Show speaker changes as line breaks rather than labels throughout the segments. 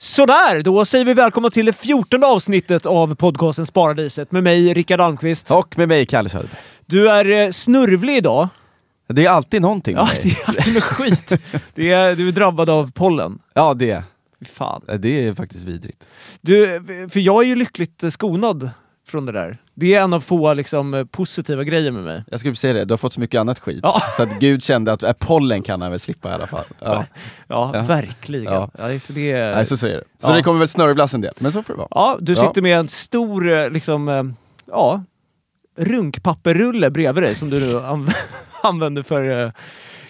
Sådär, då säger vi välkomna till det fjortonde avsnittet av podcasten Sparadiset med mig, Rickard Almqvist.
Och med mig, Kalle Söderberg.
Du är eh, snurvlig idag.
Det är alltid någonting med
Ja, det
mig.
är alltid med skit. Det är, du är drabbad av pollen.
Ja, det.
Fy Fan.
Det är faktiskt vidrigt.
Du, för jag är ju lyckligt eh, skonad från det där. Det är en av få liksom, eh, positiva grejer med mig.
Jag skulle säga det, du har fått så mycket annat skit.
Ja.
Så att Gud kände att äh, pollen kan han väl slippa i alla fall. Ja.
Ja,
Ja.
verkligen. Ja.
Ja.
så det är...
Nej, så säger det. Så
Ja.
det kommer väl snörvlas en del, men så får det vara.
ja, du
Ja.
sitter med en stor eh, liksom, eh, ja, runkpapperrulle bredvid dig som du nu anv- använder för, eh,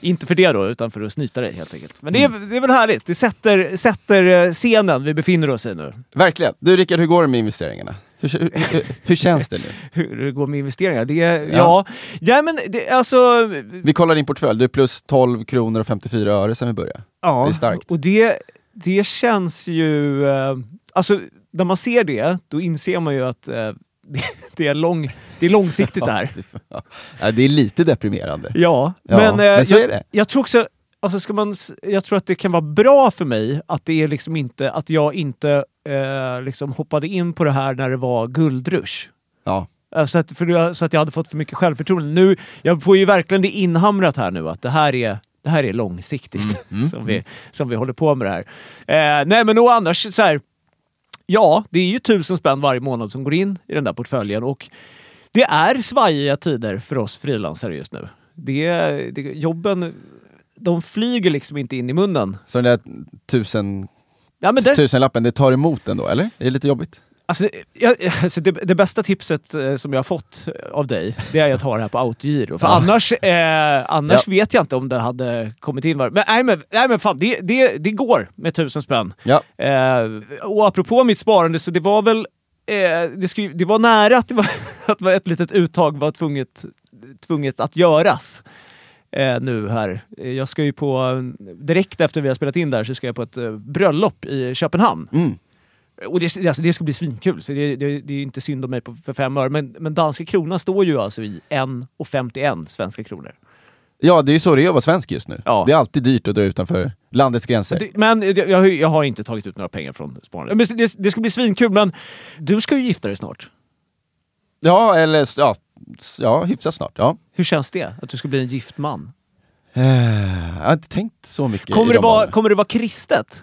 inte för det då, utan för att snyta dig helt enkelt. Men det är,
Mm.
det är väl härligt, det sätter, sätter eh, scenen vi befinner oss i nu.
Verkligen. Du Rickard, hur går det med investeringarna? Hur, hur, hur, hur känns det nu?
Hur det går med investeringar, det är, ja.
Ja.
ja. men det, alltså...
Vi kollar din portfölj, du är plus 12 kronor och 54 öre sedan vi började.
Ja,
Det är starkt.
och det, det känns ju... Eh, alltså, när man ser det, då inser man ju att eh, det, det, är lång, det är långsiktigt det här.
Ja. Ja, det är lite deprimerande.
Ja,
Ja,
men, eh,
men så
jag,
är det.
jag tror också... Alltså ska man, s- jag tror att det kan vara bra för mig att, det är liksom inte, att jag inte eh, liksom hoppade in på det här när det var guldrush.
Ja.
Eh, Så att, för, jag- så att jag hade fått för mycket självförtroende. Nu, jag får ju verkligen det inhamrat här nu att det här är, det här är långsiktigt som, vi, som vi håller på med det här. Eh, nej men och annars så här, ja det är ju tusen spänn varje månad som går in i den där portföljen och det är svajiga tider för oss frilansare just nu. Det, det, jobben, de flyger liksom inte in i munnen.
Så den där tusen,
Ja, men där,
tusenlappen, det tar emot ändå, eller? Det är lite jobbigt.
Alltså, jag, alltså det, det bästa tipset eh, som jag har fått av dig, det är att ta det här på autogiro. För
Ja.
annars, eh, annars
Ja.
vet jag inte om det hade kommit in. var- Men, nej, men, nej men fan, det, det, det går med tusen spänn.
Ja.
Eh, och apropå mitt sparande, så det var väl... Eh, det, skulle, det var nära att, det var, att det var ett litet uttag var tvunget, tvunget att göras. Eh, nu här. Eh, Jag ska ju på, direkt efter vi har spelat in där så ska jag på ett eh, bröllop i Köpenhamn.
Mm.
Och det, det- alltså, det ska bli svinkul, så det, det, det är ju inte synd om mig på, för fem öre. Men, men danska kronan står ju alltså i 1,51 svenska kronor.
Ja, det är ju så det är att vara svensk just nu.
Ja.
Det är alltid dyrt att dra utanför landets gränser.
Det, men det- jag, har ju- jag har inte tagit ut några pengar från sparandet. Men det, det ska bli svinkul, men du ska ju gifta dig snart.
Ja, eller s- ja, s- ja, hyfsat snart. Ja.
Hur känns det? Att du ska bli en gift man?
Eh, Jag har inte tänkt så mycket i
Kommer
de
det, vara,
banorna.
kommer det vara kristet?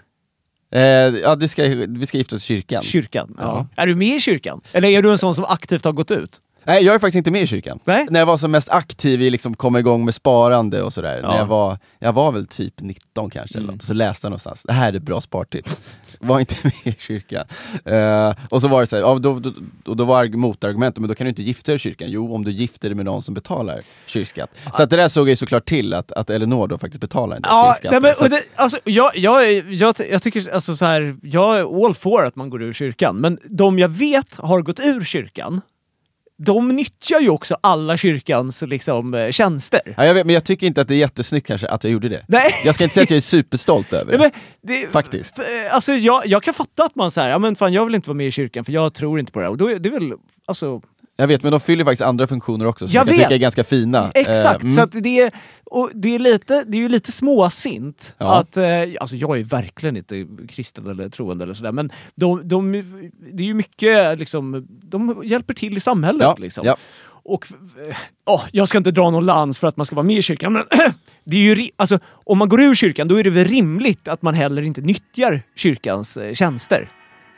Eh, ja, det ska, vi ska gifta oss i kyrkan.
Kyrkan? Ja.
Ja.
Är du med i kyrkan? Eller är du en sån som aktivt har gått ut?
Nej, jag är faktiskt inte med i kyrkan.
Nej.
När jag var som mest aktiv i liksom komma igång med sparande och sådär,
Ja. Mm.
när jag var, jag var väl typ 19 kanske, eller något, så läste jag någonstans, det här är ett bra spartips. Var inte med i kyrkan. Eh, och så var det såhär, ja, då, då, då, då var arg- motargumentet, men då kan du inte gifta dig i kyrkan. Jo, om du gifter dig med någon som betalar kyrkskatt. Så att det där såg jag ju såklart till, att, att Elinor då faktiskt betalar en del
Ja,
kyrkskatt.
nej, men,
Så
och
att-
det, alltså, jag, jag, är- jag, jag tycker alltså, så här, jag är all for att man går ur kyrkan, men de jag vet har gått ur kyrkan, de nyttjar ju också alla kyrkans liksom, eh, tjänster.
ja, jag vet, men jag tycker inte att det är jättesnyggt kanske att jag gjorde det.
Nej.
Jag ska inte säga att jag är superstolt över det.
Nej, men det,
Faktiskt.
f- Alltså, jag, jag kan fatta att man säger ja men fan jag vill inte vara med i kyrkan för jag tror inte på det här. Och då är det väl, alltså,
Jag vet, men de fyller faktiskt andra funktioner också som
Jag
jag, kan
vet.
tycka är ganska fina. Eh,
Exakt,
mm.
så att det, är, och det, är lite, det är ju lite småsint.
Ja.
Att, eh, alltså jag är verkligen inte kristen eller troende eller sådär, men de, de, det är ju mycket liksom, de hjälper till i samhället.
Ja,
Liksom.
ja.
Och, eh, ja, jag ska inte dra någon lans för att man ska vara med i kyrkan, men det är ju, ri- alltså, om man går ur kyrkan då är det väl rimligt att man heller inte nyttjar kyrkans eh, tjänster.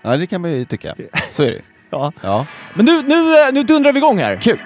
ja, det kan man ju tycka. Så är det
Ja.
Ja.
Men nu, nu, eh, nu dundrar vi igång här.
Kul!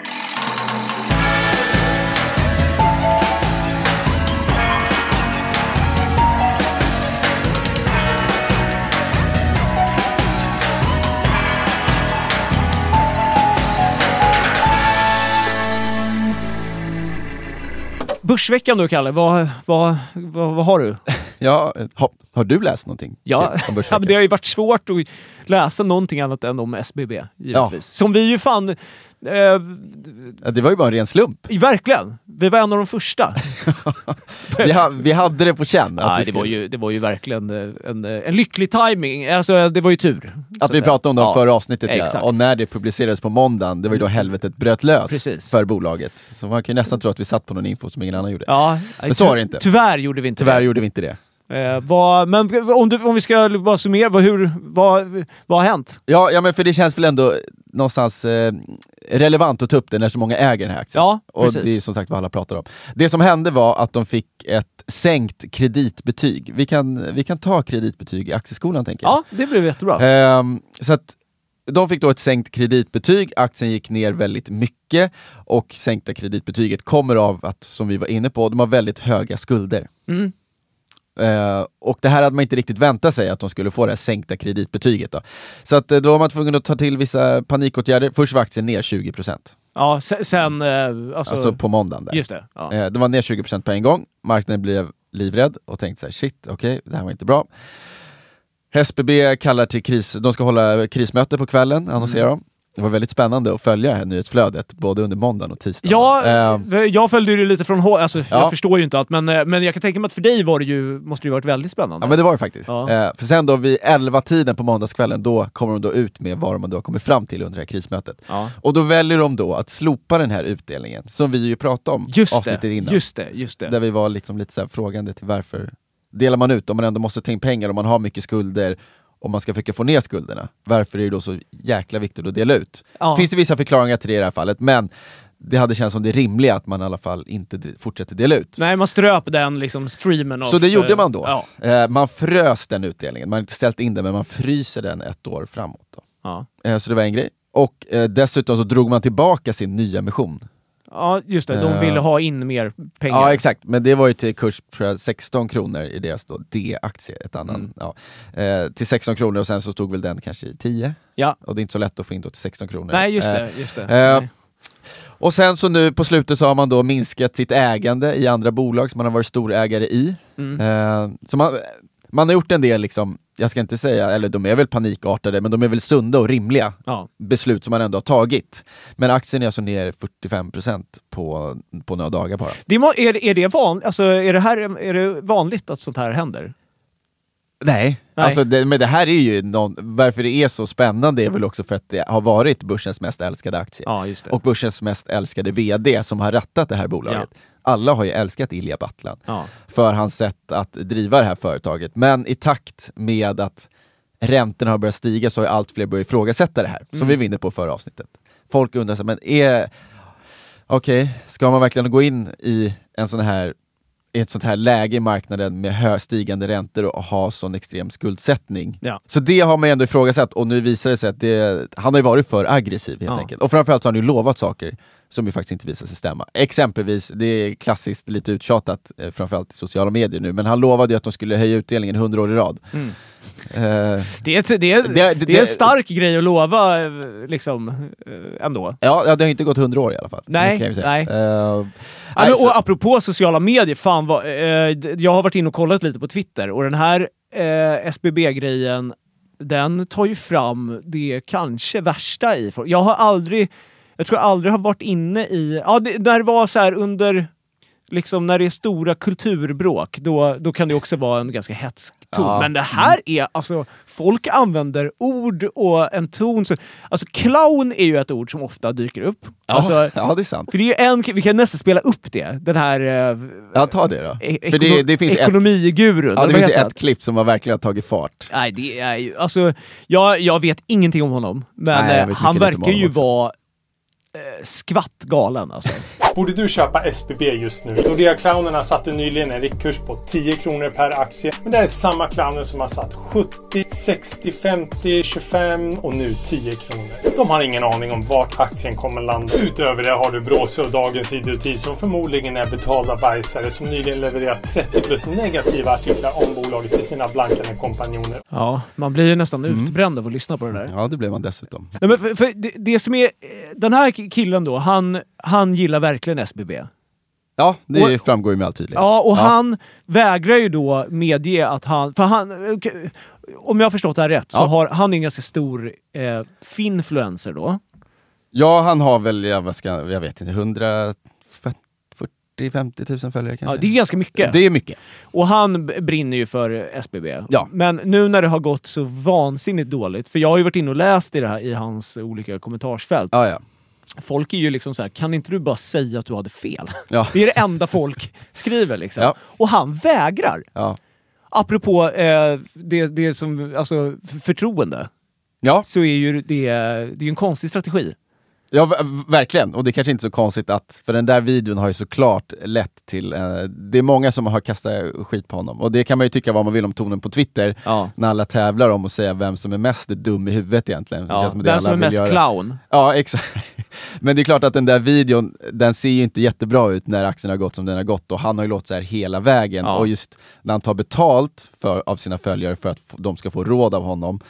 Börsveckan då, Kalle. Vad, vad, vad, vad har du?
Ja, eh, har, har du läst någonting?
Ja.
Om
ja,
Börsveckan?
men det har ju varit svårt att läsa någonting annat än om SBB, givetvis.
Ja.
Som vi ju fan... Eh,
Ja, det var ju bara en ren slump.
verkligen! Vi var en av de första.
Vi, ha, vi hade det på känn. att
Nej,
vi
det,
skulle-
var ju, det var ju verkligen eh, en, eh, en lycklig timing. Alltså, det var ju tur. så
Att vi
säga.
pratade om dem
Ja.
förra avsnittet ja.
Exakt. Mm.
och när det publicerades på måndagen, det var ju då helvetet bröt lös
Precis.
för bolaget. Så man kan ju nästan tro att vi satt på någon info som ingen annan gjorde.
Ja,
Men så var det inte.
Tyvärr gjorde vi inte
Tyvärr
det.
gjorde vi inte det.
Eh, vad, men om, du, om vi ska bara summera, vad, hur, vad, vad har hänt?
Ja, ja men för det känns väl ändå någonstans eh, relevant att ta upp det när så många äger den här aktien.
Ja,
och
precis.
det är som sagt vad alla pratar om. Det som hände var att de fick ett sänkt kreditbetyg. Vi kan, vi kan ta kreditbetyg i aktieskolan tänker jag.
Ja, det blev jättebra.
Ehm, så att de fick då ett sänkt kreditbetyg, aktien gick ner väldigt mycket och sänkta kreditbetyget kommer av att, som vi var inne på, de har väldigt höga skulder.
Mm.
Eh, och det här hade man inte riktigt väntat sig, att de skulle få det här sänkta kreditbetyget. Då. Så att, eh, då var man tvungen att ta till vissa panikåtgärder. Först var aktien ner 20%,
Ja, sen... sen eh, alltså,
alltså på måndagen. Där.
just det. Ja.
Eh, Det var ner 20% på en gång, marknaden blev livrädd och tänkte så här, shit, okej, det här var inte bra. SBB kallar till kris, de ska hålla krismöte på kvällen, annonserar
Mm.
de. Det var väldigt spännande att följa det här nyhetsflödet, både under måndagen och tisdagen.
Ja,
Eh,
eh, jag följde ju det lite från håll. Alltså,
Ja.
Jag förstår ju inte allt, men, eh, men jag kan tänka mig att för dig var det ju, måste det ju varit väldigt spännande.
ja men det var det faktiskt.
Ja.
Eh, För sen då vid 11-tiden på måndagskvällen, då kommer de då ut med vad de då har kommit fram till under det här krismötet.
Ja.
Och då väljer de då att slopa den här utdelningen, som vi ju pratade om
Just,
avsnittet
det,
innan.
just det, just det.
Där vi var liksom lite så här frågande till varför delar man ut om man ändå måste ta in pengar, om man har mycket skulder, om man ska försöka få ner skulderna. Varför är det då så jäkla viktigt att dela ut?
Ja.
Finns det vissa förklaringar till det i det här fallet, men det hade känts som det rimliga att man i alla fall inte d- fortsätter dela ut.
Nej, man ströp den liksom, streamen.
Så
av,
det gjorde
eh,
man då.
Ja.
Eh, Man frös den utdelningen, man har inte ställt in den, men man fryser den ett år framåt. Då.
Ja.
Eh, Så det var en grej. Och eh, dessutom så drog man tillbaka sin nya mission.
ja, just det. De
Eh.
ville ha in mer pengar.
Ja exakt, men det var ju till kurs tror jag, 16 kronor i deras då D-aktie, ett annan,
Mm.
ja. eh, till 16 kronor och sen så stod väl den kanske i 10
Ja.
och det är inte så lätt att få in då till 16 kronor.
Nej, just
Eh,
det. Just det.
eh,
Nej.
och sen så nu på slutet så har man då minskat sitt ägande i andra bolag som man har varit storägare i.
Mm.
Eh, så man, man har gjort en del, liksom, jag ska inte säga, eller de är väl panikartade, men de är väl sunda och rimliga
Ja.
beslut som man ändå har tagit. Men aktien är alltså ner 45% på, på några dagar bara.
Det må, är, det- är, det van, alltså, är, det här, är det vanligt att sånt här händer?
Nej,
Nej.
Alltså det, men det här är ju någon, varför det är så spännande är väl också för att det har varit börsens mest älskade aktie.
Ja, just det.
Och börsens mest älskade VD som har rattat det här bolaget. Alla har ju älskat Ilja Battlan
ja.
för hans sätt att driva det här företaget. Men i takt med att räntorna har börjat stiga så har ju allt fler börjat ifrågasätta det här, som vi var inne på förra avsnittet. Folk undrar sig, men är... Okej, ska man verkligen gå in i en sån här i ett sånt här läge i marknaden med hö- stigande räntor och ha sån extrem skuldsättning.
Ja.
Så det har man ju ändå ifrågasatt och nu visar det sig att det, han har ju varit för aggressiv helt
Ja.
enkelt. Och framförallt så har han ju lovat saker som ju faktiskt inte visar sig stämma. Exempelvis, det är klassiskt lite uttjatat, eh, framförallt i sociala medier nu, men han lovade ju att de skulle höja utdelningen 100 år i rad.
Mm.
Eh,
Det, är, ett- det, är, det,
det-
är en stark grej att lova eh, liksom, eh, ändå.
Ja, ja, det har ju inte gått 100 år i alla fall.
Nej,
Det kan jag ju säga.
nej.
Eh,
Ja,
nej,
men,
så-
och apropå sociala medier, fan vad, eh, d- jag har varit inne och kollat lite på Twitter och den här eh, SBB-grejen, den tar ju fram det kanske värsta i folk. Jag har aldrig, jag tror jag aldrig har varit inne i, ja det, när det var så här under, liksom när det är stora kulturbråk, då, då kan det också vara en ganska hetsk ton.
Ja. Mm.
Men det här är, alltså folk använder ord och en ton som, alltså clown är ju ett ord som ofta dyker upp.
ja,
Alltså,
ja, det är sant.
för det är ju en, vi kan nästan spela upp det, den här eh,
Ja, ta det då.
e-
För det, det finns ju ett,
ekonomigurun.
ja, det
Vad
finns ju
heter
ett klipp som har verkligen tagit fart.
han? Nej, det är ju, alltså, jag, jag vet ingenting om honom, men
Nej, jag vet
eh, han
mycket lite om
verkar ju
honom också.
vara eh, skvattgalen alltså.
Borde du köpa SBB just nu? Nordea Clownerna satte nyligen en riktkurs på 10 kronor per aktie. Men det är samma clowner som har satt 70, 60, 50, 25 och nu 10 kronor. De har ingen aning om vart aktien kommer landa. Utöver det har du Bråse och Dagens Idiotis som förmodligen är betalda bajsare som nyligen levererat 30 plus negativa artiklar om bolaget till sina blankande kompanjoner.
Ja, man blir ju nästan utbränd av att lyssna på det där.
Mm. Ja, det blev man dessutom.
Nej, men för, för det, det som är... eh, Den här k- killen då, han, han gillar verkligen SBB.
Ja, det
Och-
framgår ju med all tydlighet.
Ja, och han vägrar ju då medge att han... För han okej, om jag har förstått det här rätt så
Ja.
har han är en ganska stor eh, finfluencer då.
Ja, han har väl, jag, vad ska, jag vet inte, 140-50 000 följare kanske?
Ja, det är ganska mycket.
Det är mycket.
Och han b- brinner ju för SBB.
Ja.
Men nu när det har gått så vansinnigt dåligt, för jag har ju varit inne och läst i, det här, i hans olika kommentarsfält.
Ja, ja.
Folk är ju liksom så här, kan inte du bara säga att du hade fel?
Ja.
Det är det enda folk skriver liksom.
Ja.
Och han vägrar.
ja.
Apropå eh, det, det som, alltså f- förtroende,
ja.
så är ju det, det är ju en konstig strategi.
Ja, v- v- verkligen. Och det är kanske inte så konstigt att, för den där videon har ju såklart lett till, eh, det är många som har kastat skit på honom. Och det kan man ju tycka vad man vill om tonen på Twitter,
Ja.
när alla tävlar om att säga vem som är mest dum i huvudet egentligen. Det
Ja.
känns som det
Den
alla
som är
vill
mest
göra.
clown.
Ja, exakt. Men det är klart att den där videon, den ser ju inte jättebra ut när aktien har gått som den har gått och han har ju låtit så här hela vägen.
Ja.
Och just när han tar betalt för, av sina följare för att f- de ska få råd av honom,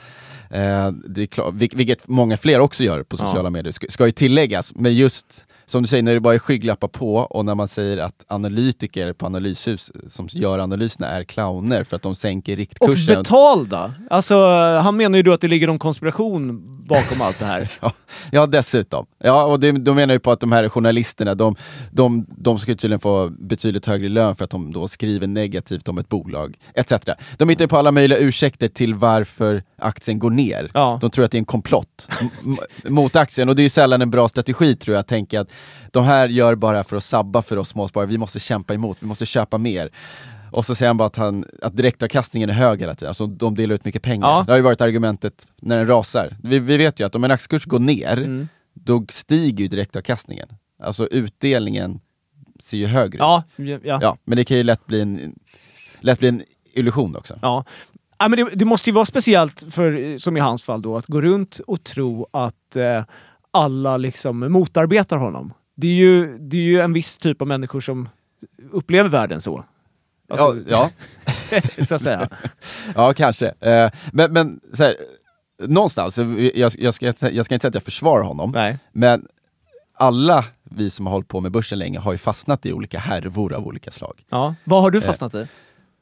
eh, det är klart, vil- vilket många fler också gör på sociala medier, ska, ska ju tilläggas. Men just som du säger, när det bara är skygglappar på och när man säger att analytiker på analyshus som gör analyserna är clowner för att de sänker
Och
riktkursen.
betalda! Alltså, han menar ju då att det ligger någon konspiration bakom allt det här.
Ja, ja dessutom. Ja, och det, de menar ju på att de här journalisterna, de, de, de ska ju tydligen få betydligt högre lön för att de då skriver negativt om ett bolag, etc. De hittar ju på alla möjliga ursäkter till varför aktien går ner.
Ja.
De tror att det är en komplott m- m- mot aktien och det är ju sällan en bra strategi tror jag, att tänka att de här gör bara för att sabba för oss småsparare, vi måste kämpa emot, vi måste köpa mer. Och så säger han bara att, han, att direktavkastningen är hög hela tiden, alltså de delar ut mycket pengar.
Ja.
Det har ju varit argumentet när den rasar. Vi, vi vet ju att om en aktiekurs går ner,
Mm.
då stiger ju direktavkastningen. Alltså utdelningen ser ju högre ut.
Ja, ja.
Ja, men det kan ju lätt bli en, lätt bli en illusion också.
Ja. Ja, men det, det måste ju vara speciellt, för, som i hans fall, då, att gå runt och tro att eh, alla liksom motarbetar honom. Det är, ju, det är ju en viss typ av människor som upplever världen så. Alltså,
ja, ja.
så att säga.
Ja, kanske. Eh, men men så här, någonstans, eh, jag, jag, ska, jag ska inte säga att jag försvarar honom,
Nej.
men alla vi som har hållit på med börsen länge har ju fastnat i olika härvor av olika slag.
Ja. Vad har du fastnat
Eh.
i?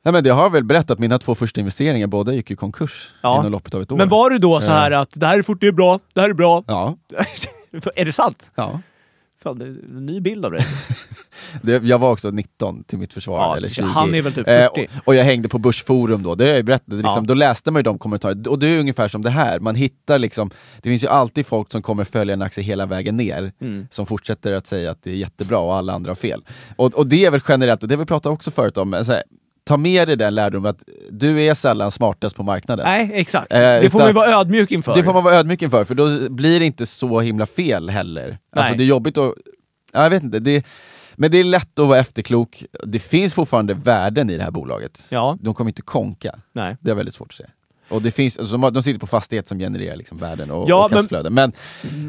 Nej, men det har jag väl berättat, mina två första investeringar, båda gick ju i konkurs
Ja.
inom loppet av ett år.
Men var du då så här att det här är fort, det är bra, det här är bra.
Ja,
är det sant?
ja.
Fan, det är en ny bild av dig.
Det, jag var också 19 till mitt försvar,
Ja,
eller 20.
han är väl typ
Eh,
40.
och, och jag hängde på Börsforum då, det har jag ju berättat, liksom,
Ja.
då läste man ju de kommentarerna. Och det är ungefär som det här, man hittar liksom, det finns ju alltid folk som kommer följa en aktie hela vägen ner,
Mm.
som fortsätter att säga att det är jättebra och alla andra har fel. Och, och det är väl generellt, och det har vi pratat också förut om, men så här, ta med dig den lärdomen att du är sällan smartast på marknaden.
Nej, exakt.
Eh,
det får man ju
utan-
vara ödmjuk inför.
Det får man vara ödmjuk inför, för då blir det inte så himla fel heller. Alltså
Nej.
det är jobbigt att... Ja, jag vet inte. Det, men det är lätt att vara efterklok. Det finns fortfarande värden i det här bolaget.
Ja.
De kommer inte konka.
Nej.
Det är väldigt svårt att se. Och det finns, alltså, de har- de sitter på fastighet som genererar liksom värden och,
Ja,
och
men- Mm.
kassaflöden. Men,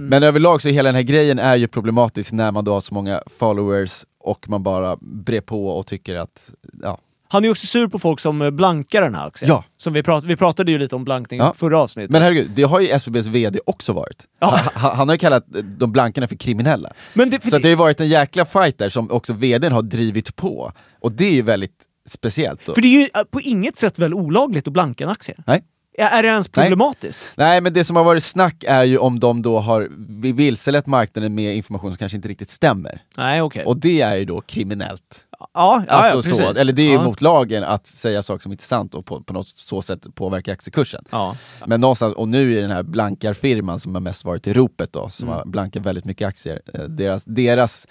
men överlag så är hela den här grejen är ju problematisk när man då har så många followers och man bara brer på och tycker att... Ja,
Han är ju också sur på folk som eh, blankar den här aktien.
Ja.
Som vi, prat, vi pratade ju lite om blankning
Ja.
förra avsnittet.
men herregud, det har ju SBBs VD också varit.
Ja.
Han, han har ju kallat de blankarna för kriminella.
Men det, för
Så att det
det,
har ju varit en jäkla fight där som också vdn har drivit på. Och det är ju väldigt speciellt. Då.
för det är ju eh, på inget sätt väl olagligt att blanka en aktie?
Nej.
Är är det ens
Nej.
problematiskt?
Nej, men det som har varit snack är ju om de då har vi- vilselett marknaden med information som kanske inte riktigt stämmer.
Nej, okej.
Och det är ju då kriminellt.
Ja, ja, ja,
Alltså
precis.
så, eller det är ju
ja.
mot lagen att säga saker som inte är sant och på, på något så sätt påverka aktiekursen.
Ja.
Men någonstans, och nu är den här
Mm.
blankarfirman som har mest varit i ropet då, som har blankat väldigt mycket aktier, eh, deras, deras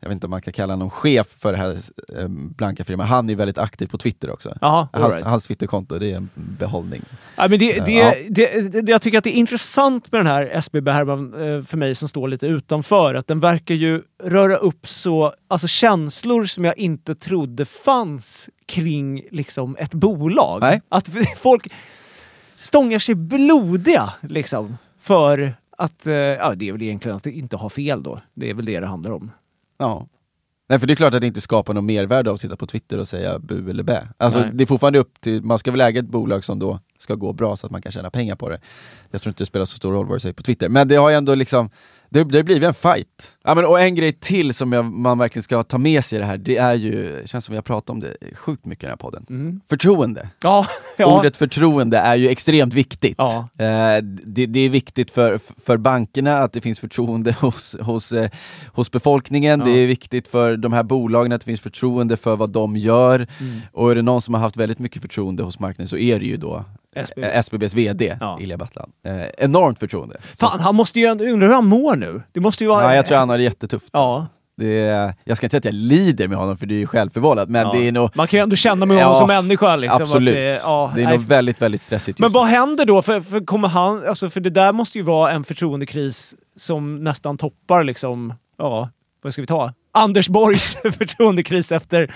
jag vet inte om man kan kalla honom chef för det här eh, blanka firman, han är ju väldigt aktiv på Twitter också.
Jaha, all
hans,
right.
hans Twitterkonto, det är en behållning.
Ja, men det, det,
Ja.
det, det, jag tycker att det är intressant med den här SBB-härvan eh, för mig som står lite utanför. Att den verkar ju röra upp så, alltså känslor som jag inte trodde fanns kring liksom, ett bolag.
Nej.
Att folk stångar sig blodiga liksom, för att... eh, Ja, det är väl egentligen att inte ha fel då. Det är väl det det handlar om.
Ja. Nej, för det är klart att det inte skapar något mervärde av att sitta på Twitter och säga bu eller bä. Alltså,
Nej.
det är fortfarande upp till, man ska väl äga ett bolag som då ska gå bra så att man kan tjäna pengar på det. Jag tror inte det spelar så stor roll vad du säger på Twitter, men det har ju ändå liksom, det, det har blivit en fight. Ja, men, och en grej till som jag, man verkligen ska ta med sig i det här, det är ju, det känns som vi har pratat om det sjukt mycket i den här podden. Förtroende.
Ja, ja.
Ordet förtroende är ju extremt viktigt.
Ja.
Eh, det, det är viktigt för, för bankerna att det finns förtroende hos, hos, eh, hos befolkningen. Det är viktigt för de här bolagen att det finns förtroende för vad de gör.
Mm.
Och är det någon som har haft väldigt mycket förtroende hos marknaden så är det ju då Eh,
SBB.
SBB. SBBs VD,
Ja.
Ilja Battlan. Eh, enormt förtroende.
Fan, han måste ju... ändå- Undrar hur han mår nu? Det måste ju vara...
Ja, jag tror han har det jättetufft.
Ja.
alltså. Det är, jag ska inte säga att jag lider med honom för det är ju självförvållat, men
Ja.
det är nog...
Man kan ju ändå känna med honom
Ja,
som människa. Liksom,
absolut.
Att det, ja,
det är
nej,
nog väldigt, väldigt stressigt
men
just nu.
vad händer då? För, för, kommer han, alltså, för det där måste ju vara en förtroendekris som nästan toppar liksom, ja, vad ska vi ta? Anders Borgs förtroendekris efter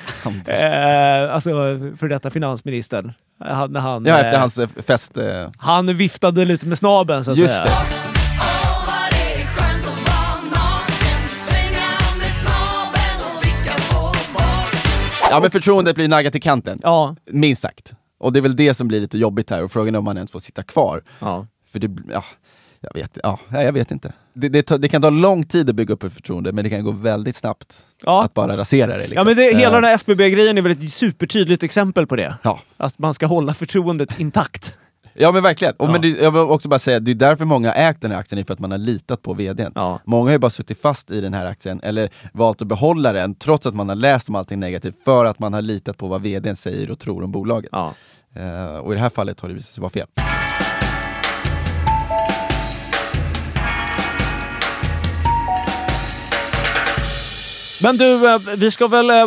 eh, alltså, för detta finansministern. Han, när han,
Ja,
eh,
efter hans eh, fest... Eh,
han viftade lite med snabeln så att
Just
säga.
det. Ja men förtroendet blir naggat i kanten,
Ja.
minst sagt. Och det är väl det som blir lite jobbigt här och frågan är om man ens får sitta kvar.
ja.
För det, ja, jag vet, ja, nej, jag vet inte. Det, det, tar- det kan ta lång tid att bygga upp ett förtroende men det kan gå väldigt snabbt
Ja.
att bara rasera det. Liksom.
Ja, men det, hela
Eh,
den här SBB-grejen är väl ett supertydligt exempel på det.
ja.
Att man ska hålla förtroendet intakt.
ja men verkligen. Och,
Ja.
men det, jag vill också bara säga, det är därför många har ägt den här aktien, det är för att man har litat på vdn.
Ja.
Många har ju bara suttit fast i den här aktien eller valt att behålla den trots att man har läst om allting negativt för att man har litat på vad vdn säger och tror om bolaget.
Ja.
Eh, och i det här fallet har det visat sig vara fel.
Men du, eh, vi ska väl eh,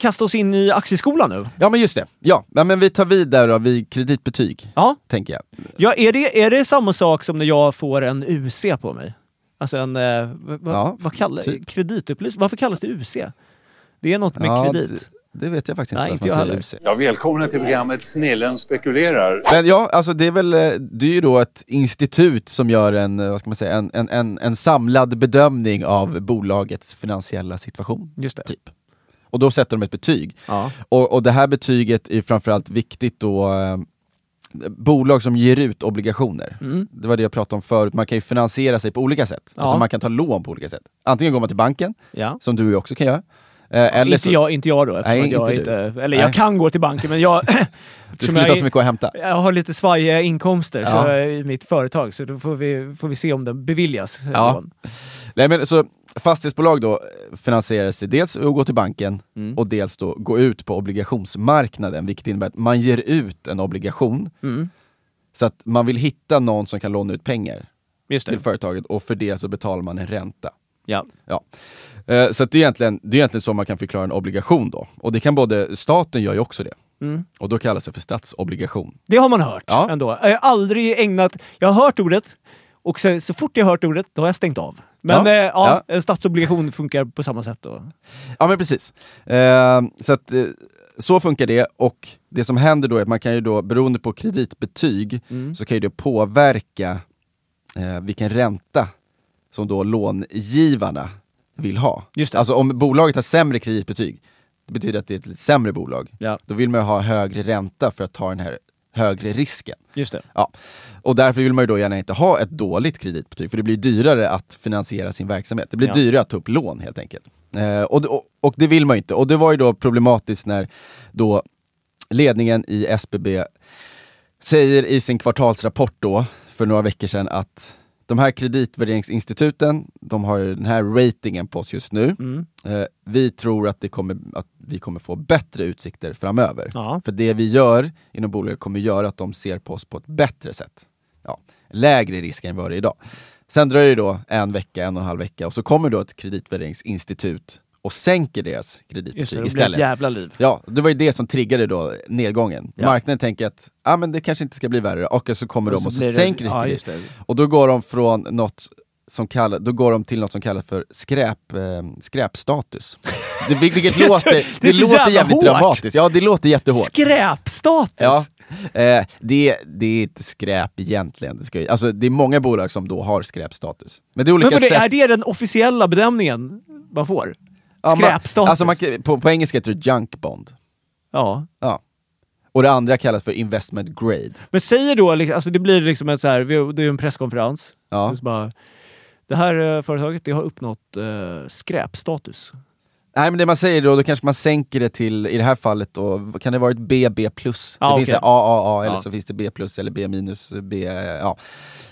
kasta oss in i aktieskolan nu?
Ja men just det, ja. ja men vi tar vid där då vid kreditbetyg,
Ja.
tänker jag.
ja är, det, är det samma sak som när jag får en UC på mig? Alltså en... Eh, va, va-
Ja,
vad kallar,
typ.
Kreditupplysning? Varför kallas det UC? Det är något med
ja,
kredit.
Det, det vet jag faktiskt inte.
Nej,
att
inte
man
jag
säger
heller.
UC.
Ja, välkomna till programmet Snillen spekulerar.
Men ja, alltså det är väl, eh, det är ju då ett institut som gör en, eh, vad ska man säga, en, en, en, en samlad bedömning av bolagets finansiella situation.
Just det.
Typ. Och då sätter de ett betyg.
Ja.
Och, och det här betyget är framförallt viktigt då eh, bolag som ger ut obligationer. Det var det jag pratade om förut, man kan ju finansiera sig på olika sätt.
Mm. Ja.
Alltså man kan ta lån på olika sätt. Antingen går man till banken,
Ja.
som du och jag också kan göra. Eh, eller
Inte, jag, inte jag då, eftersom
Nej,
att jag
inte
inte...
du.
Eller jag
Nej.
kan gå till banken, men jag...
Det
eftersom
skulle
jag
ta så
är-
mycket att hämta.
jag har lite svajiga inkomster så,
Ja.
i mitt företag, så då får vi, får vi se om den beviljas. eh,
Ja.
lån.
Nej, men, så, fastighetsbolag då eh, finansierar sig dels att gå till banken
Mm.
och dels då gå ut på obligationsmarknaden, vilket innebär att man ger ut en obligation.
Mm.
Så att man vill hitta någon som kan låna ut pengar
Just
till
det.
företaget och för det så betalar man en ränta.
Ja.
Ja. Eh, Så att det, är egentligen, det är egentligen så man kan förklara en obligation då. Och det kan både, staten gör ju också det. Och då kallas det för statsobligation.
Det har man hört
Ja.
ändå. Jag har aldrig ägnat... Jag har hört ordet och sen, så fort jag har hört ordet, då har jag stängt av. Men
Ja.
Eh, ja, en statsobligation funkar på samma sätt då.
Ja men precis. Eh, så, att, eh, så funkar det och det som händer då är att man kan ju då, beroende på kreditbetyg,
Mm.
så kan ju det påverka eh, vilken ränta som då långivarna vill ha.
Just det.
Alltså om bolaget har sämre kreditbetyg, det betyder att det är ett lite sämre bolag.
Ja.
Då vill man ju ha högre ränta för att ta den här högre risken.
Just det.
Ja. Och därför vill man ju då gärna inte ha ett dåligt kreditbetyg, för det blir dyrare att finansiera sin verksamhet. Det blir
Ja.
dyrare att ta upp lån helt enkelt. Eh, och, och, och det vill man ju inte. Och det var ju då problematiskt när då ledningen i SBB säger i sin kvartalsrapport då, för några veckor sedan, att de här kreditvärderingsinstituten, de har ju den här ratingen på oss just nu.
Mm.
Eh, vi tror att, det kommer, att vi kommer få bättre utsikter framöver.
Ja.
För det vi gör inom bolaget kommer göra att de ser på oss på ett bättre sätt. Ja, lägre risk än vad det är idag. Sen dröjer det då en vecka, en och en halv vecka och så kommer då ett kreditvärderingsinstitut och sänker deras
Just det,
kreditbetyg
det blir ett
istället.
jävla liv.
Ja, det var ju det som triggade då nedgången.
Ja.
Marknaden tänker att ah, men det kanske inte ska bli värre, och så kommer de och så
blir det-
sänker
ja,
de
just det.
Och då går de från något som kallas, då går de till något som kallas för skräp, eh, skräpstatus. Det, vil- vilket
Det är så-
låter, det
det är så
låter
jävla
jävligt
hårt.
dramatiskt. Ja, det låter jättehårt.
Skräpstatus!
Ja, eh, det, det är inte skräp egentligen. Det, ska, ju- alltså, det är många bolag som då har skräpstatus. Men det är olika
Men vadå,
sätt.
är det den officiella bedömningen man får?
Ja, man-
Skräpstatus?
Alltså man, kan- på, på engelska heter det junk bond.
ja.
Ja. Och det andra kallas för investment grade.
Men säger då, liksom- alltså det blir liksom ett så här, vi- det är ju en presskonferens.
Ja.
Det, är så bara, det här eh, företaget det har uppnått eh, skräpstatus.
Nej men det man säger då, då kanske man sänker det till, i det här fallet då, kan det vara ett BB+. plus? det
Ja,
finns
okej.
det AAA, eller
Ja.
så finns det B+, plus eller B-, minus, B, ja.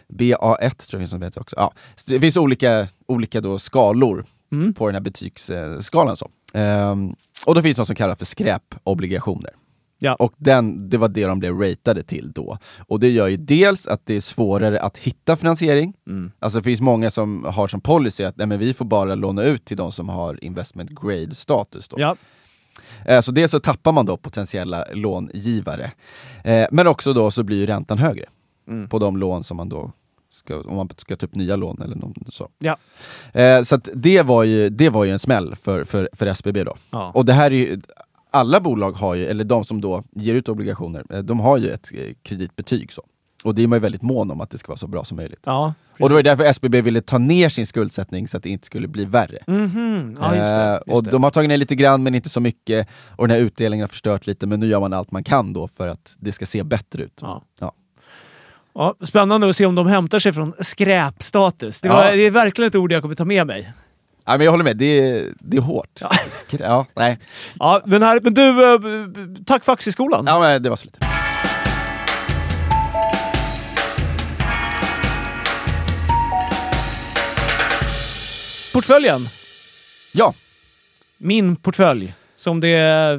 BA1 tror jag finns som heter också. Ja. Så det finns olika, olika då skalor
Mm.
på den här betygsskalan. Så. Ehm, och då finns något som kallas för skräpobligationer.
Ja.
Och den, det var det de blev ratade till då. Och det gör ju dels att det är svårare att hitta finansiering. Alltså det finns många som har som policy att nej, men vi får bara låna ut till de som har investment grade status. Då.
ja.
Eh, Så dels så tappar man då potentiella långivare. Eh, Men också då så blir ju räntan högre på de lån som man då ska, om man ska ta upp nya lån eller något så.
ja.
Eh, Så att det, var ju, det var ju en smäll för, för, för SBB då.
Ja.
Och det här är ju, alla bolag har ju, eller de som då ger ut obligationer, eh, de har ju ett eh, kreditbetyg. Så. Och det är man ju väldigt mån om att det ska vara så bra som möjligt.
Ja.
Och det var ju därför SBB ville ta ner sin skuldsättning så att det inte skulle bli värre.
Mhm. ja, just det. Just
Eh, och
det.
de har tagit ner lite grann men inte så mycket och den här utdelningen har förstört lite men nu gör man allt man kan då för att det ska se bättre ut.
Ja.
Ja.
Ja, spännande att se om de hämtar sig från skräpstatus. Det, var,
Ja.
det är verkligen ett ord jag kommer ta med mig.
Ja, men jag håller med, det är, det är hårt. Ja. Ja, nej.
Ja, men, här, men du, eh, b- b- tack för Aktieskolan.
ja, men det var så lite.
Portföljen.
Ja,
Min portfölj. Som det... eh,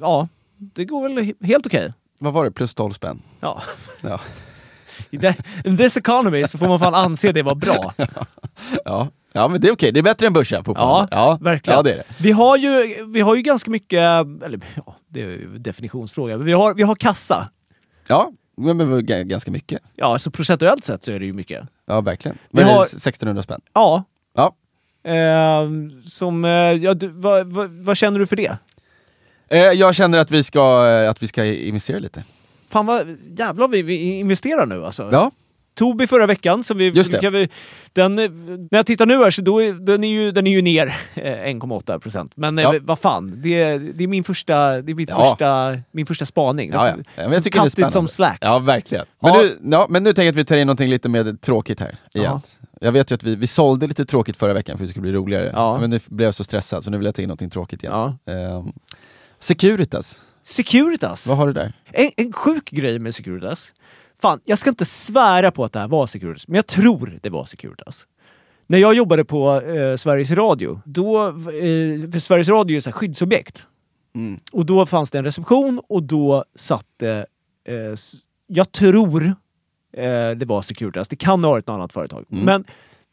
Ja, det går väl he- helt okej.
vad var det? Plus 12 spänn.
Ja.
Ja.
I de- in this economy så får man fan anse det vara bra.
Ja. ja, men det är okej. Det är bättre än börsen
Ja,
fortfarande.
verkligen.
Ja, det är det.
Vi, har ju, vi har ju ganska mycket, eller ja, det är ju en definitionsfråga, men vi har, vi har kassa.
Ja, men, men g- ganska mycket.
Ja, så alltså procentuellt sett så är det ju mycket.
Ja, verkligen. Men
har-
har... 1600 spänn.
Ja,
Ja.
eh, som, eh, ja, du, vad, vad, vad känner du för det?
Eh, Jag känner att vi ska, eh, att vi ska investera lite.
Fan vad jävlar vi, vi investerar nu alltså.
Ja,
Tobi förra veckan, som vi,
Just det.
Kan vi, den, eh, när jag tittar nu här så då, är- den är ju, den är ju ner eh, 1,8 procent. Men eh,
Ja.
vad fan, det, är- det är min första, det är mitt
Ja.
första, min första spaning.
ja, ja. ja men jag tycker det är
Kattigt
spännande.
som slack.
Ja, verkligen. Men,
Ja.
Nu, ja, men nu tänker jag att vi tar in någonting lite mer tråkigt här igen.
Ja.
Jag vet ju att vi, vi sålde lite tråkigt förra veckan för att det skulle bli roligare.
Ja.
Men nu blev jag så stressad så nu vill jag ta in någonting tråkigt igen.
Ja.
Ehm, Securitas,
Securitas.
vad har du där?
En, en sjuk grej med Securitas. Fan, jag ska inte svära på att det här var Securitas, men jag tror det var Securitas. När jag jobbade på eh, Sveriges Radio, då, eh, för Sveriges Radio är ett skyddsobjekt. Och då fanns det en reception och då satt det, eh, s- jag tror eh, det var Securitas, det kan ha varit något annat företag. Men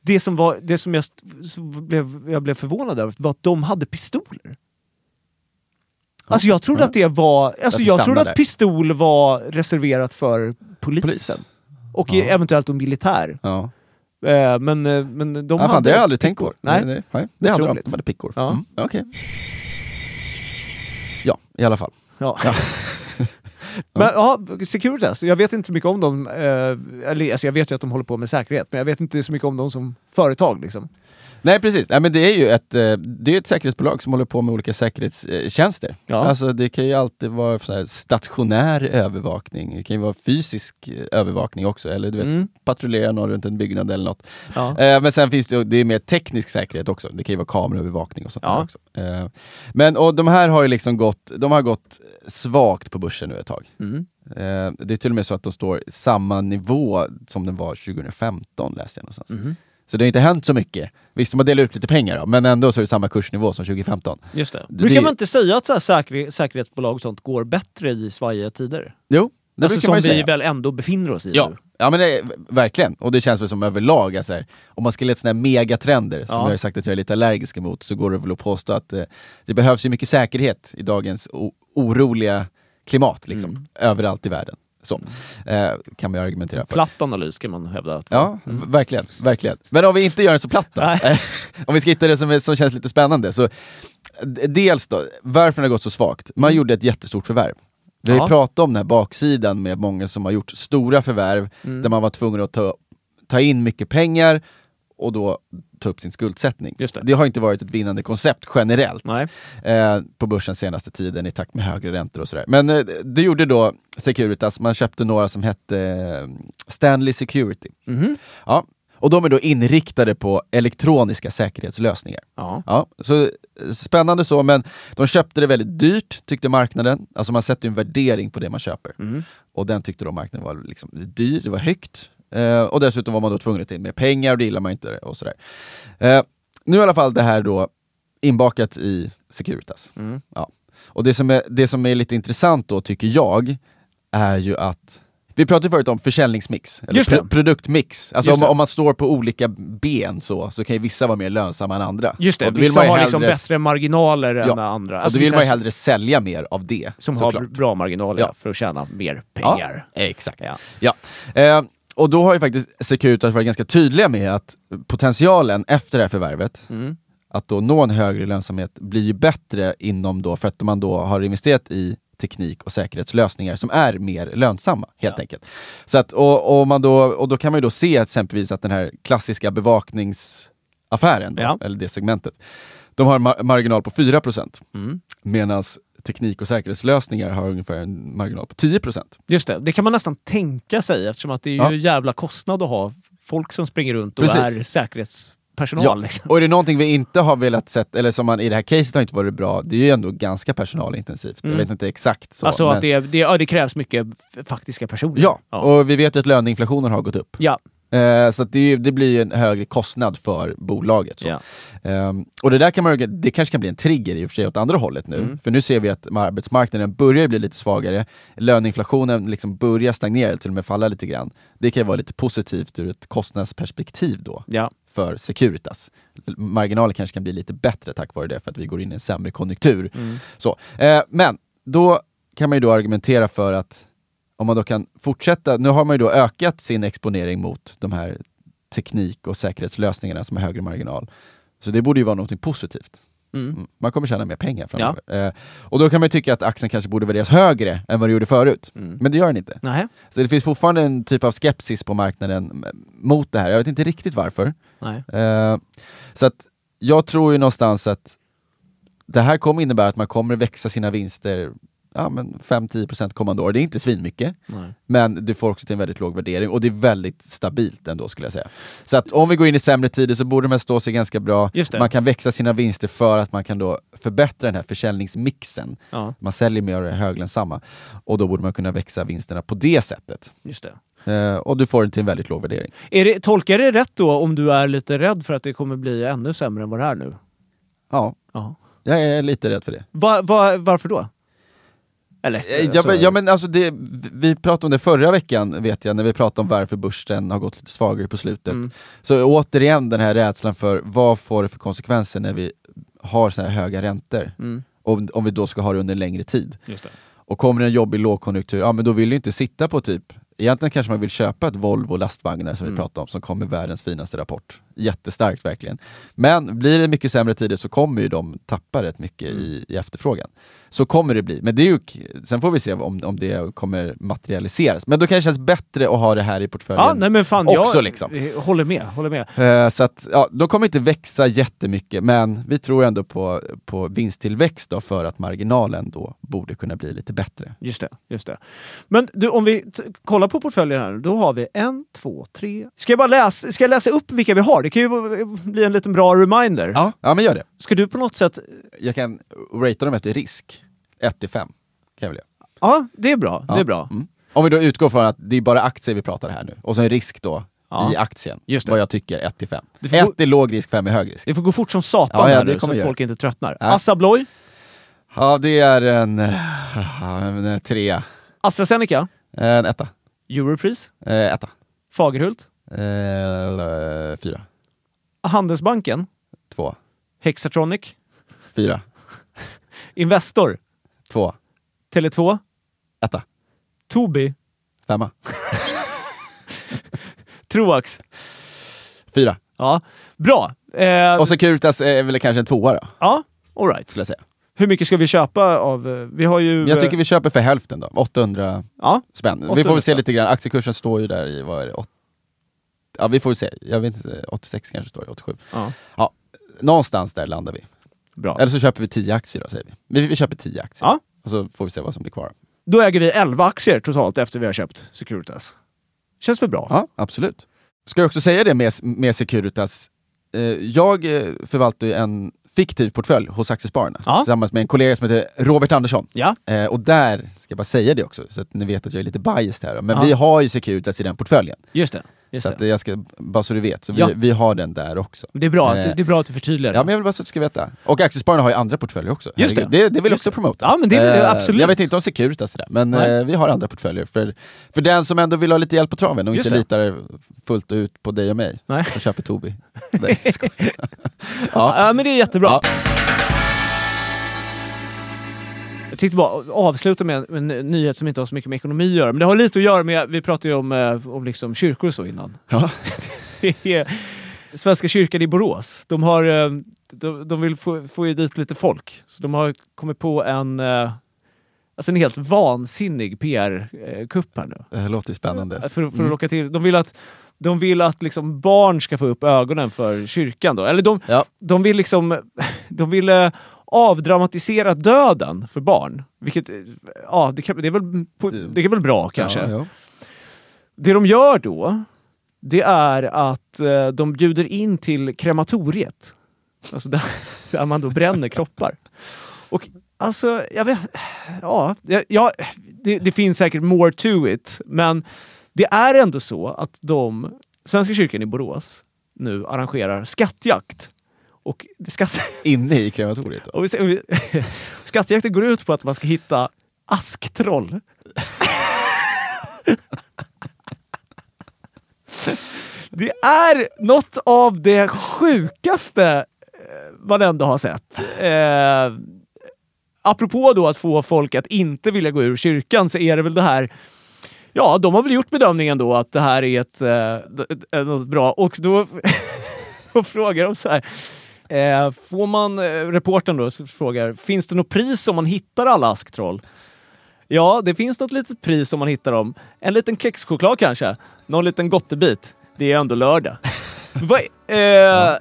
det som, var, det som jag, st- som blev, jag blev förvånad över var att de hade pistoler. Alltså jag trodde att det var, alltså
det
jag trodde
stannar där.
att pistol var reserverat för polisen. Och i- eventuellt om militär.
Ja.
Eh, men, eh, men de
Ja, fan, det
hade...
har jag aldrig tänkt på.
Nej.
nej, nej. Det hade de,
Otroligt.
de hade pickor.
Ja.
Mm. Okej. Ja, i alla fall.
Ja. Men ja, Securitas, jag vet inte så mycket om dem. Eh, eller, alltså jag vet ju att de håller på med säkerhet, men jag vet inte så mycket om dem som företag. Liksom.
Nej precis, Nej, men det är ju ett, eh, det är ett säkerhetsbolag som håller på med olika säkerhetstjänster.
Ja.
Alltså, det kan ju alltid vara så här stationär övervakning, det kan ju vara fysisk eh, övervakning också, eller du vet, patrullera någon runt en byggnad eller något.
Ja.
Eh, Men sen finns det, ju- det är mer teknisk säkerhet också, det kan ju vara kameraövervakning och sånt
Ja.
där också. Eh, Men och de här har ju liksom gått, de har gått svagt på börsen nu ett tag. Eh, Det är till och med så att de står samma nivå som den var 2015 läste jag någonstans.
Mhm.
Så det har inte hänt så mycket. Visst, de har delat ut lite pengar då, men ändå så är det samma kursnivå som 2015.
Just det.
Det-
Brukar man inte säga att så här säker, säkerhetsbolag och sånt går bättre i svajiga tider?
Jo, Det
alltså,
brukar
som
man
vi
ju säga.
väl ändå befinner oss i
Ja,
nu.
ja men det, verkligen. Och det känns väl som överlag, alltså, här, om man ska leta sådana här megatrender, som
Ja.
jag har sagt att jag är lite allergisk emot, så går det väl att påstå att eh, det behövs ju mycket säkerhet i dagens o- oroliga klimat, liksom,
Mm.
överallt i världen. Så eh, kan man ju argumentera för.
Platt analys kan man hävda att
Ja, v- verkligen, verkligen. Men om vi inte gör den så platt då? om vi ska hitta det som, är, som känns lite spännande. Så, d- dels då, varför den har gått så svagt. Man gjorde ett jättestort förvärv. Vi har
Mm. Ja.
ju pratat om den här baksidan med många som har gjort stora förvärv
Mm.
där man var tvungen att ta, ta in mycket pengar och då ta upp sin skuldsättning.
Just det.
har inte varit ett vinnande koncept generellt
Nej.
eh, på börsen senaste tiden i takt med högre räntor och sådär. Men eh, det gjorde då Securitas, man köpte några som hette eh, Stanley Security. Ja. Och de är då inriktade på elektroniska säkerhetslösningar.
Ja.
Ja, så eh, spännande så, men de köpte det väldigt dyrt tyckte marknaden. Alltså man sätter ju en värdering på det man köper.
Mm.
Och den tyckte då marknaden var liksom dyr, det var högt. Eh, och dessutom var man då tvungen att ta in mer pengar och det gillar man inte och sådär. Eh, nu är i alla fall det här då inbakat i Securitas.
Mm.
Ja. Och det som, är, det som är lite intressant då tycker jag är ju att vi pratade ju förut om försäljningsmix, eller
Just det.
pro- produktmix. Alltså
Just
om,
det.
om man står på olika ben så, så kan ju vissa vara mer lönsamma än andra.
Just det,
Och då
vissa har liksom
hellre-
bättre marginaler
Ja.
än andra. Alltså
och då vill man ju hellre sälja mer av det.
som har
såklart.
bra marginaler
Ja.
för att tjäna mer pengar.
Ja, exakt.
Ja.
Ja. Eh, och då har ju faktiskt Securitas varit ganska tydliga med att potentialen efter det här förvärvet, att då nå en högre lönsamhet blir ju bättre inom då, för att man då har investerat i teknik och säkerhetslösningar som är mer lönsamma helt enkelt. Så att, och, och, man då, och då kan man ju då se exempelvis att den här klassiska bevakningsaffären, då,
Ja.
eller det segmentet, de har en mar- marginal på 4 medan teknik och säkerhetslösningar har ungefär en marginal på 10
Just det, det kan man nästan tänka sig eftersom att det är ju
Ja.
jävla kostnad att ha folk som springer runt och
Precis.
är säkerhetspersonal.
Ja,
Liksom.
och är det någonting vi inte har velat sett, eller som man i det här caset har inte varit bra, det är ju ändå ganska personalintensivt. Jag vet inte exakt. Så,
Mm. alltså
men-
att det, är- det, ja, det krävs mycket f- faktiska personer.
Ja,
ja.
och vi vet ju att löneinflationen har gått upp.
ja.
Eh, så att det, är ju- det blir ju en högre kostnad för bolaget. Så.
Ja.
Ehm, och det där kan man, ju- det kanske kan bli en trigger i och för sig åt andra hållet nu.
Mm.
För nu ser vi att arbetsmarknaden börjar bli lite svagare. Löneinflationen liksom börjar stagnera, eller till och med falla lite grann. Det kan ju vara lite positivt ur ett kostnadsperspektiv då
ja.
för Securitas. Marginalen kanske kan bli lite bättre tack vare det, för att vi går in i en sämre konjunktur. Så. Eh, men då kan man ju då argumentera för att om man då kan fortsätta, nu har man ju då ökat sin exponering mot de här teknik och säkerhetslösningarna som har högre marginal. Så det borde ju vara något positivt. Mm. Man kommer tjäna mer pengar framöver. Eh, och då kan man ju tycka att aktien kanske borde värderas högre än vad den gjorde förut. Men det gör den inte.
Nej.
Så det finns fortfarande en typ av skepsis på marknaden eh, mot det här. Jag vet inte riktigt varför.
Nej.
Eh, så att jag tror ju någonstans att det här kommer innebära att man kommer växa sina vinster ja, men 5-10% kommande år. Det är inte svinmycket,
Nej.
men du får också till en väldigt låg värdering och det är väldigt stabilt ändå skulle jag säga. Så att om vi går in i sämre tider så borde de här stå sig ganska bra.
Just det.
Man kan växa sina vinster för att man kan då förbättra den här försäljningsmixen.
Ja,
Man säljer mer av det höglönsamma och då borde man kunna växa vinsterna på det sättet.
just det.
Eh, och du får den till en väldigt låg värdering.
Är det. Tolkar jag det rätt då om du är lite rädd för att det kommer bli ännu sämre än vad det är nu?
Ja,
Ja.
jag är lite rädd för det.
Va, va, varför då? Eller?
Eh, Ja,
alltså-
men, ja, men alltså det, vi- vi pratade om det förra veckan, vet jag, när vi pratade om varför börsen har gått lite svagare på slutet. Så återigen den här rädslan för vad får det för konsekvenser när vi har så här höga räntor? Om, om vi då ska ha det under en längre tid.
Just det.
Och kommer det en jobbig lågkonjunktur, ja men då vill du inte sitta på typ Egentligen kanske man vill köpa ett Volvo lastvagnar
Mm.
som vi pratade om, som kom med världens finaste rapport. Jättestarkt verkligen. Men blir det mycket sämre tider så kommer ju de tappa rätt mycket
Mm.
i, i efterfrågan. Så kommer det bli. Men det är ju, k- sen får vi se om, om det kommer materialiseras. Men då kanske det känns bättre att ha det här i portföljen
Ja, nej, men fan,
också.
jag
Liksom.
eh, håller med. Håller med.
Eh, Så att, ja, de kommer inte växa jättemycket, men vi tror ändå på, på vinsttillväxt då för att marginalen då borde kunna bli lite bättre.
Just det, just det. Men du, om vi t- kollar på portföljen här, då har vi en, två, tre... Ska jag bara läsa, ska jag läsa upp vilka vi har? Det kan ju vara- bli en liten bra reminder.
Ja, ja men gör det.
Ska du på något sätt...
Jag kan ratea dem efter risk. 1 till 5. Kan jag väl göra.
Ja, det är bra.
Ja.
Det är bra.
Mm. Om vi då utgår från att det är bara aktier vi pratar här nu, och så en risk då
Ja.
i aktien.
Just det.
Vad jag tycker, 1 till 5.
Du
1
får gå-
är låg risk, 5 är hög risk.
Det får gå fort som satan
Ja, ja,
här nu,
det
så
kommer
att
jag
folk inte tröttnar.
Nej.
Assa Abloy,
Ja, det är en... eh, en trea.
AstraZeneca,
Eh, En etta.
Europris,
Eh, etta.
Fagerhult,
Eh, fyra.
Handelsbanken,
Två.
Hexatronic,
Fyra.
Investor,
Två.
Tele2,
Etta.
Tobii,
Femma.
Troax.
Fyra.
Ja, bra. Eh,
Och Securitas är väl kanske en tvåa då,
ja, all right.
skulle jag säga.
Hur mycket ska vi köpa av... eh, Vi har ju...
Men jag tycker
eh,
vi köper för hälften då, 800
Ja,
spänn.
800
vi får väl se
spänn.
lite grann, aktiekursen står ju där i, vad är det, åt... Ja vi får väl se, jag vet inte, 86 kanske står det, 87.
ja.
Ja, någonstans där landar vi.
Bra.
Eller så köper vi 10 aktier då, säger vi. Vi, vi köper 10 aktier.
Ja.
Och så får vi se vad som blir kvar.
Då äger vi 11 aktier totalt efter vi har köpt Securitas. Känns väl bra?
Ja, absolut. Ska jag också säga det med, med Securitas, eh, jag eh, förvaltar ju en fiktiv portfölj hos Aktiespararna
Ja.
tillsammans med en kollega som heter Robert Andersson.
Ja.
Eh, och där, ska jag bara säga det också, så att ni vet att jag är lite biased här, då. men
Ja.
vi har ju Securitas i den portföljen.
just det. Just
Så att
det.
eh, jag ska, bara så du vet, så vi,
Ja.
vi har den där också.
Det, är bra, att-
Eh,
det är bra att du förtydligar.
Ja men jag vill bara så att du ska veta. Och Aktiespararna har ju andra portföljer också.
Just det.
Herregud, det, det vill jag också promota.
Ja, men det är-
Eh,
absolut.
Jag vet inte om Securitas sådär, men
Nej.
eh, vi har andra portföljer. För, för den som ändå vill ha lite hjälp på traven och
Just
inte
det.
litar fullt ut på dig och mig,
Nej.
så köper Tobi. Nej, jag skojar. ja.
Ja, men det är jättebra.
Ja.
Jag tänkte bara avsluta med en, en nyhet som inte har så mycket med ekonomi att göra. Men det har lite att göra med, vi pratade ju om, eh, om liksom kyrkor och så innan.
Ja.
Det är- Svenska kyrkan i Borås, de, har, eh, de, de vill få, få ju dit lite folk. Så de har kommit på en, eh, alltså en helt vansinnig PR-kupp här nu.
Det här låter ju spännande.
För, för att locka till. De vill att, de vill att liksom barn ska få upp ögonen för kyrkan. Då. Eller de,
Ja.
de vill liksom... De vill eh, avdramatisera döden för barn. Vilket, eh, ja, det, kan, det, är väl, på- det är väl bra kanske.
Ja, ja.
Det de gör då, det är att eh, de bjuder in till krematoriet. Alltså där, där man då bränner kroppar. Och alltså, jag vet... Ja, jag- ja det, det finns säkert more to it. Men det är ändå så att de, Svenska kyrkan i Borås, nu arrangerar skattjakt. Och det skatt,
Inne i krematoriet då.
och vi, ser- vi, skattjakten går ut på att man ska hitta asktroll. Det är något av det sjukaste eh, man ändå har sett. Eh, apropå då att få folk att inte vilja gå ur kyrkan så är det väl det här Ja, de har väl gjort bedömningen då att det här är ett, eh, ett, ett något bra. Och då, då frågar de så här. Eh, får man, eh, reportern då så frågar, finns det något pris om man hittar alla asktroll? Ja, det finns något litet pris om man hittar dem. En liten kexchoklad kanske. Någon liten gottebit. Det är ändå lördag. Vad- eh, ja,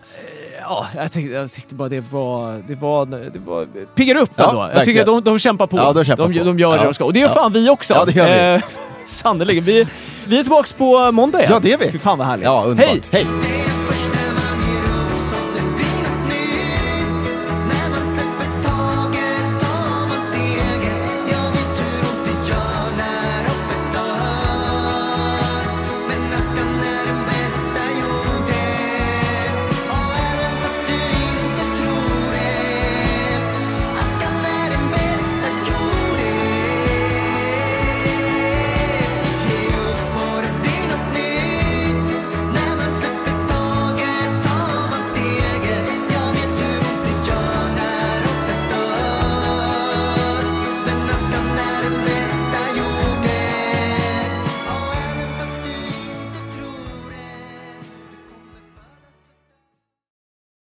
jag, tänkte, jag tyckte bara det var... Det var, det var piggar upp
Ja,
ändå. Jag tycker
verkligen.
att de, de kämpar på.
Ja, de kämpar på.
de gör det
Ja.
de ska. Och det gör
Ja.
fan vi också.
Ja, det gör vi.
Eh, Sannerligen. Vi, vi är tillbaka på måndag igen.
Ja, det är vi.
Fy fan vad härligt.
Ja, underbart.
Hej!
Hej.
första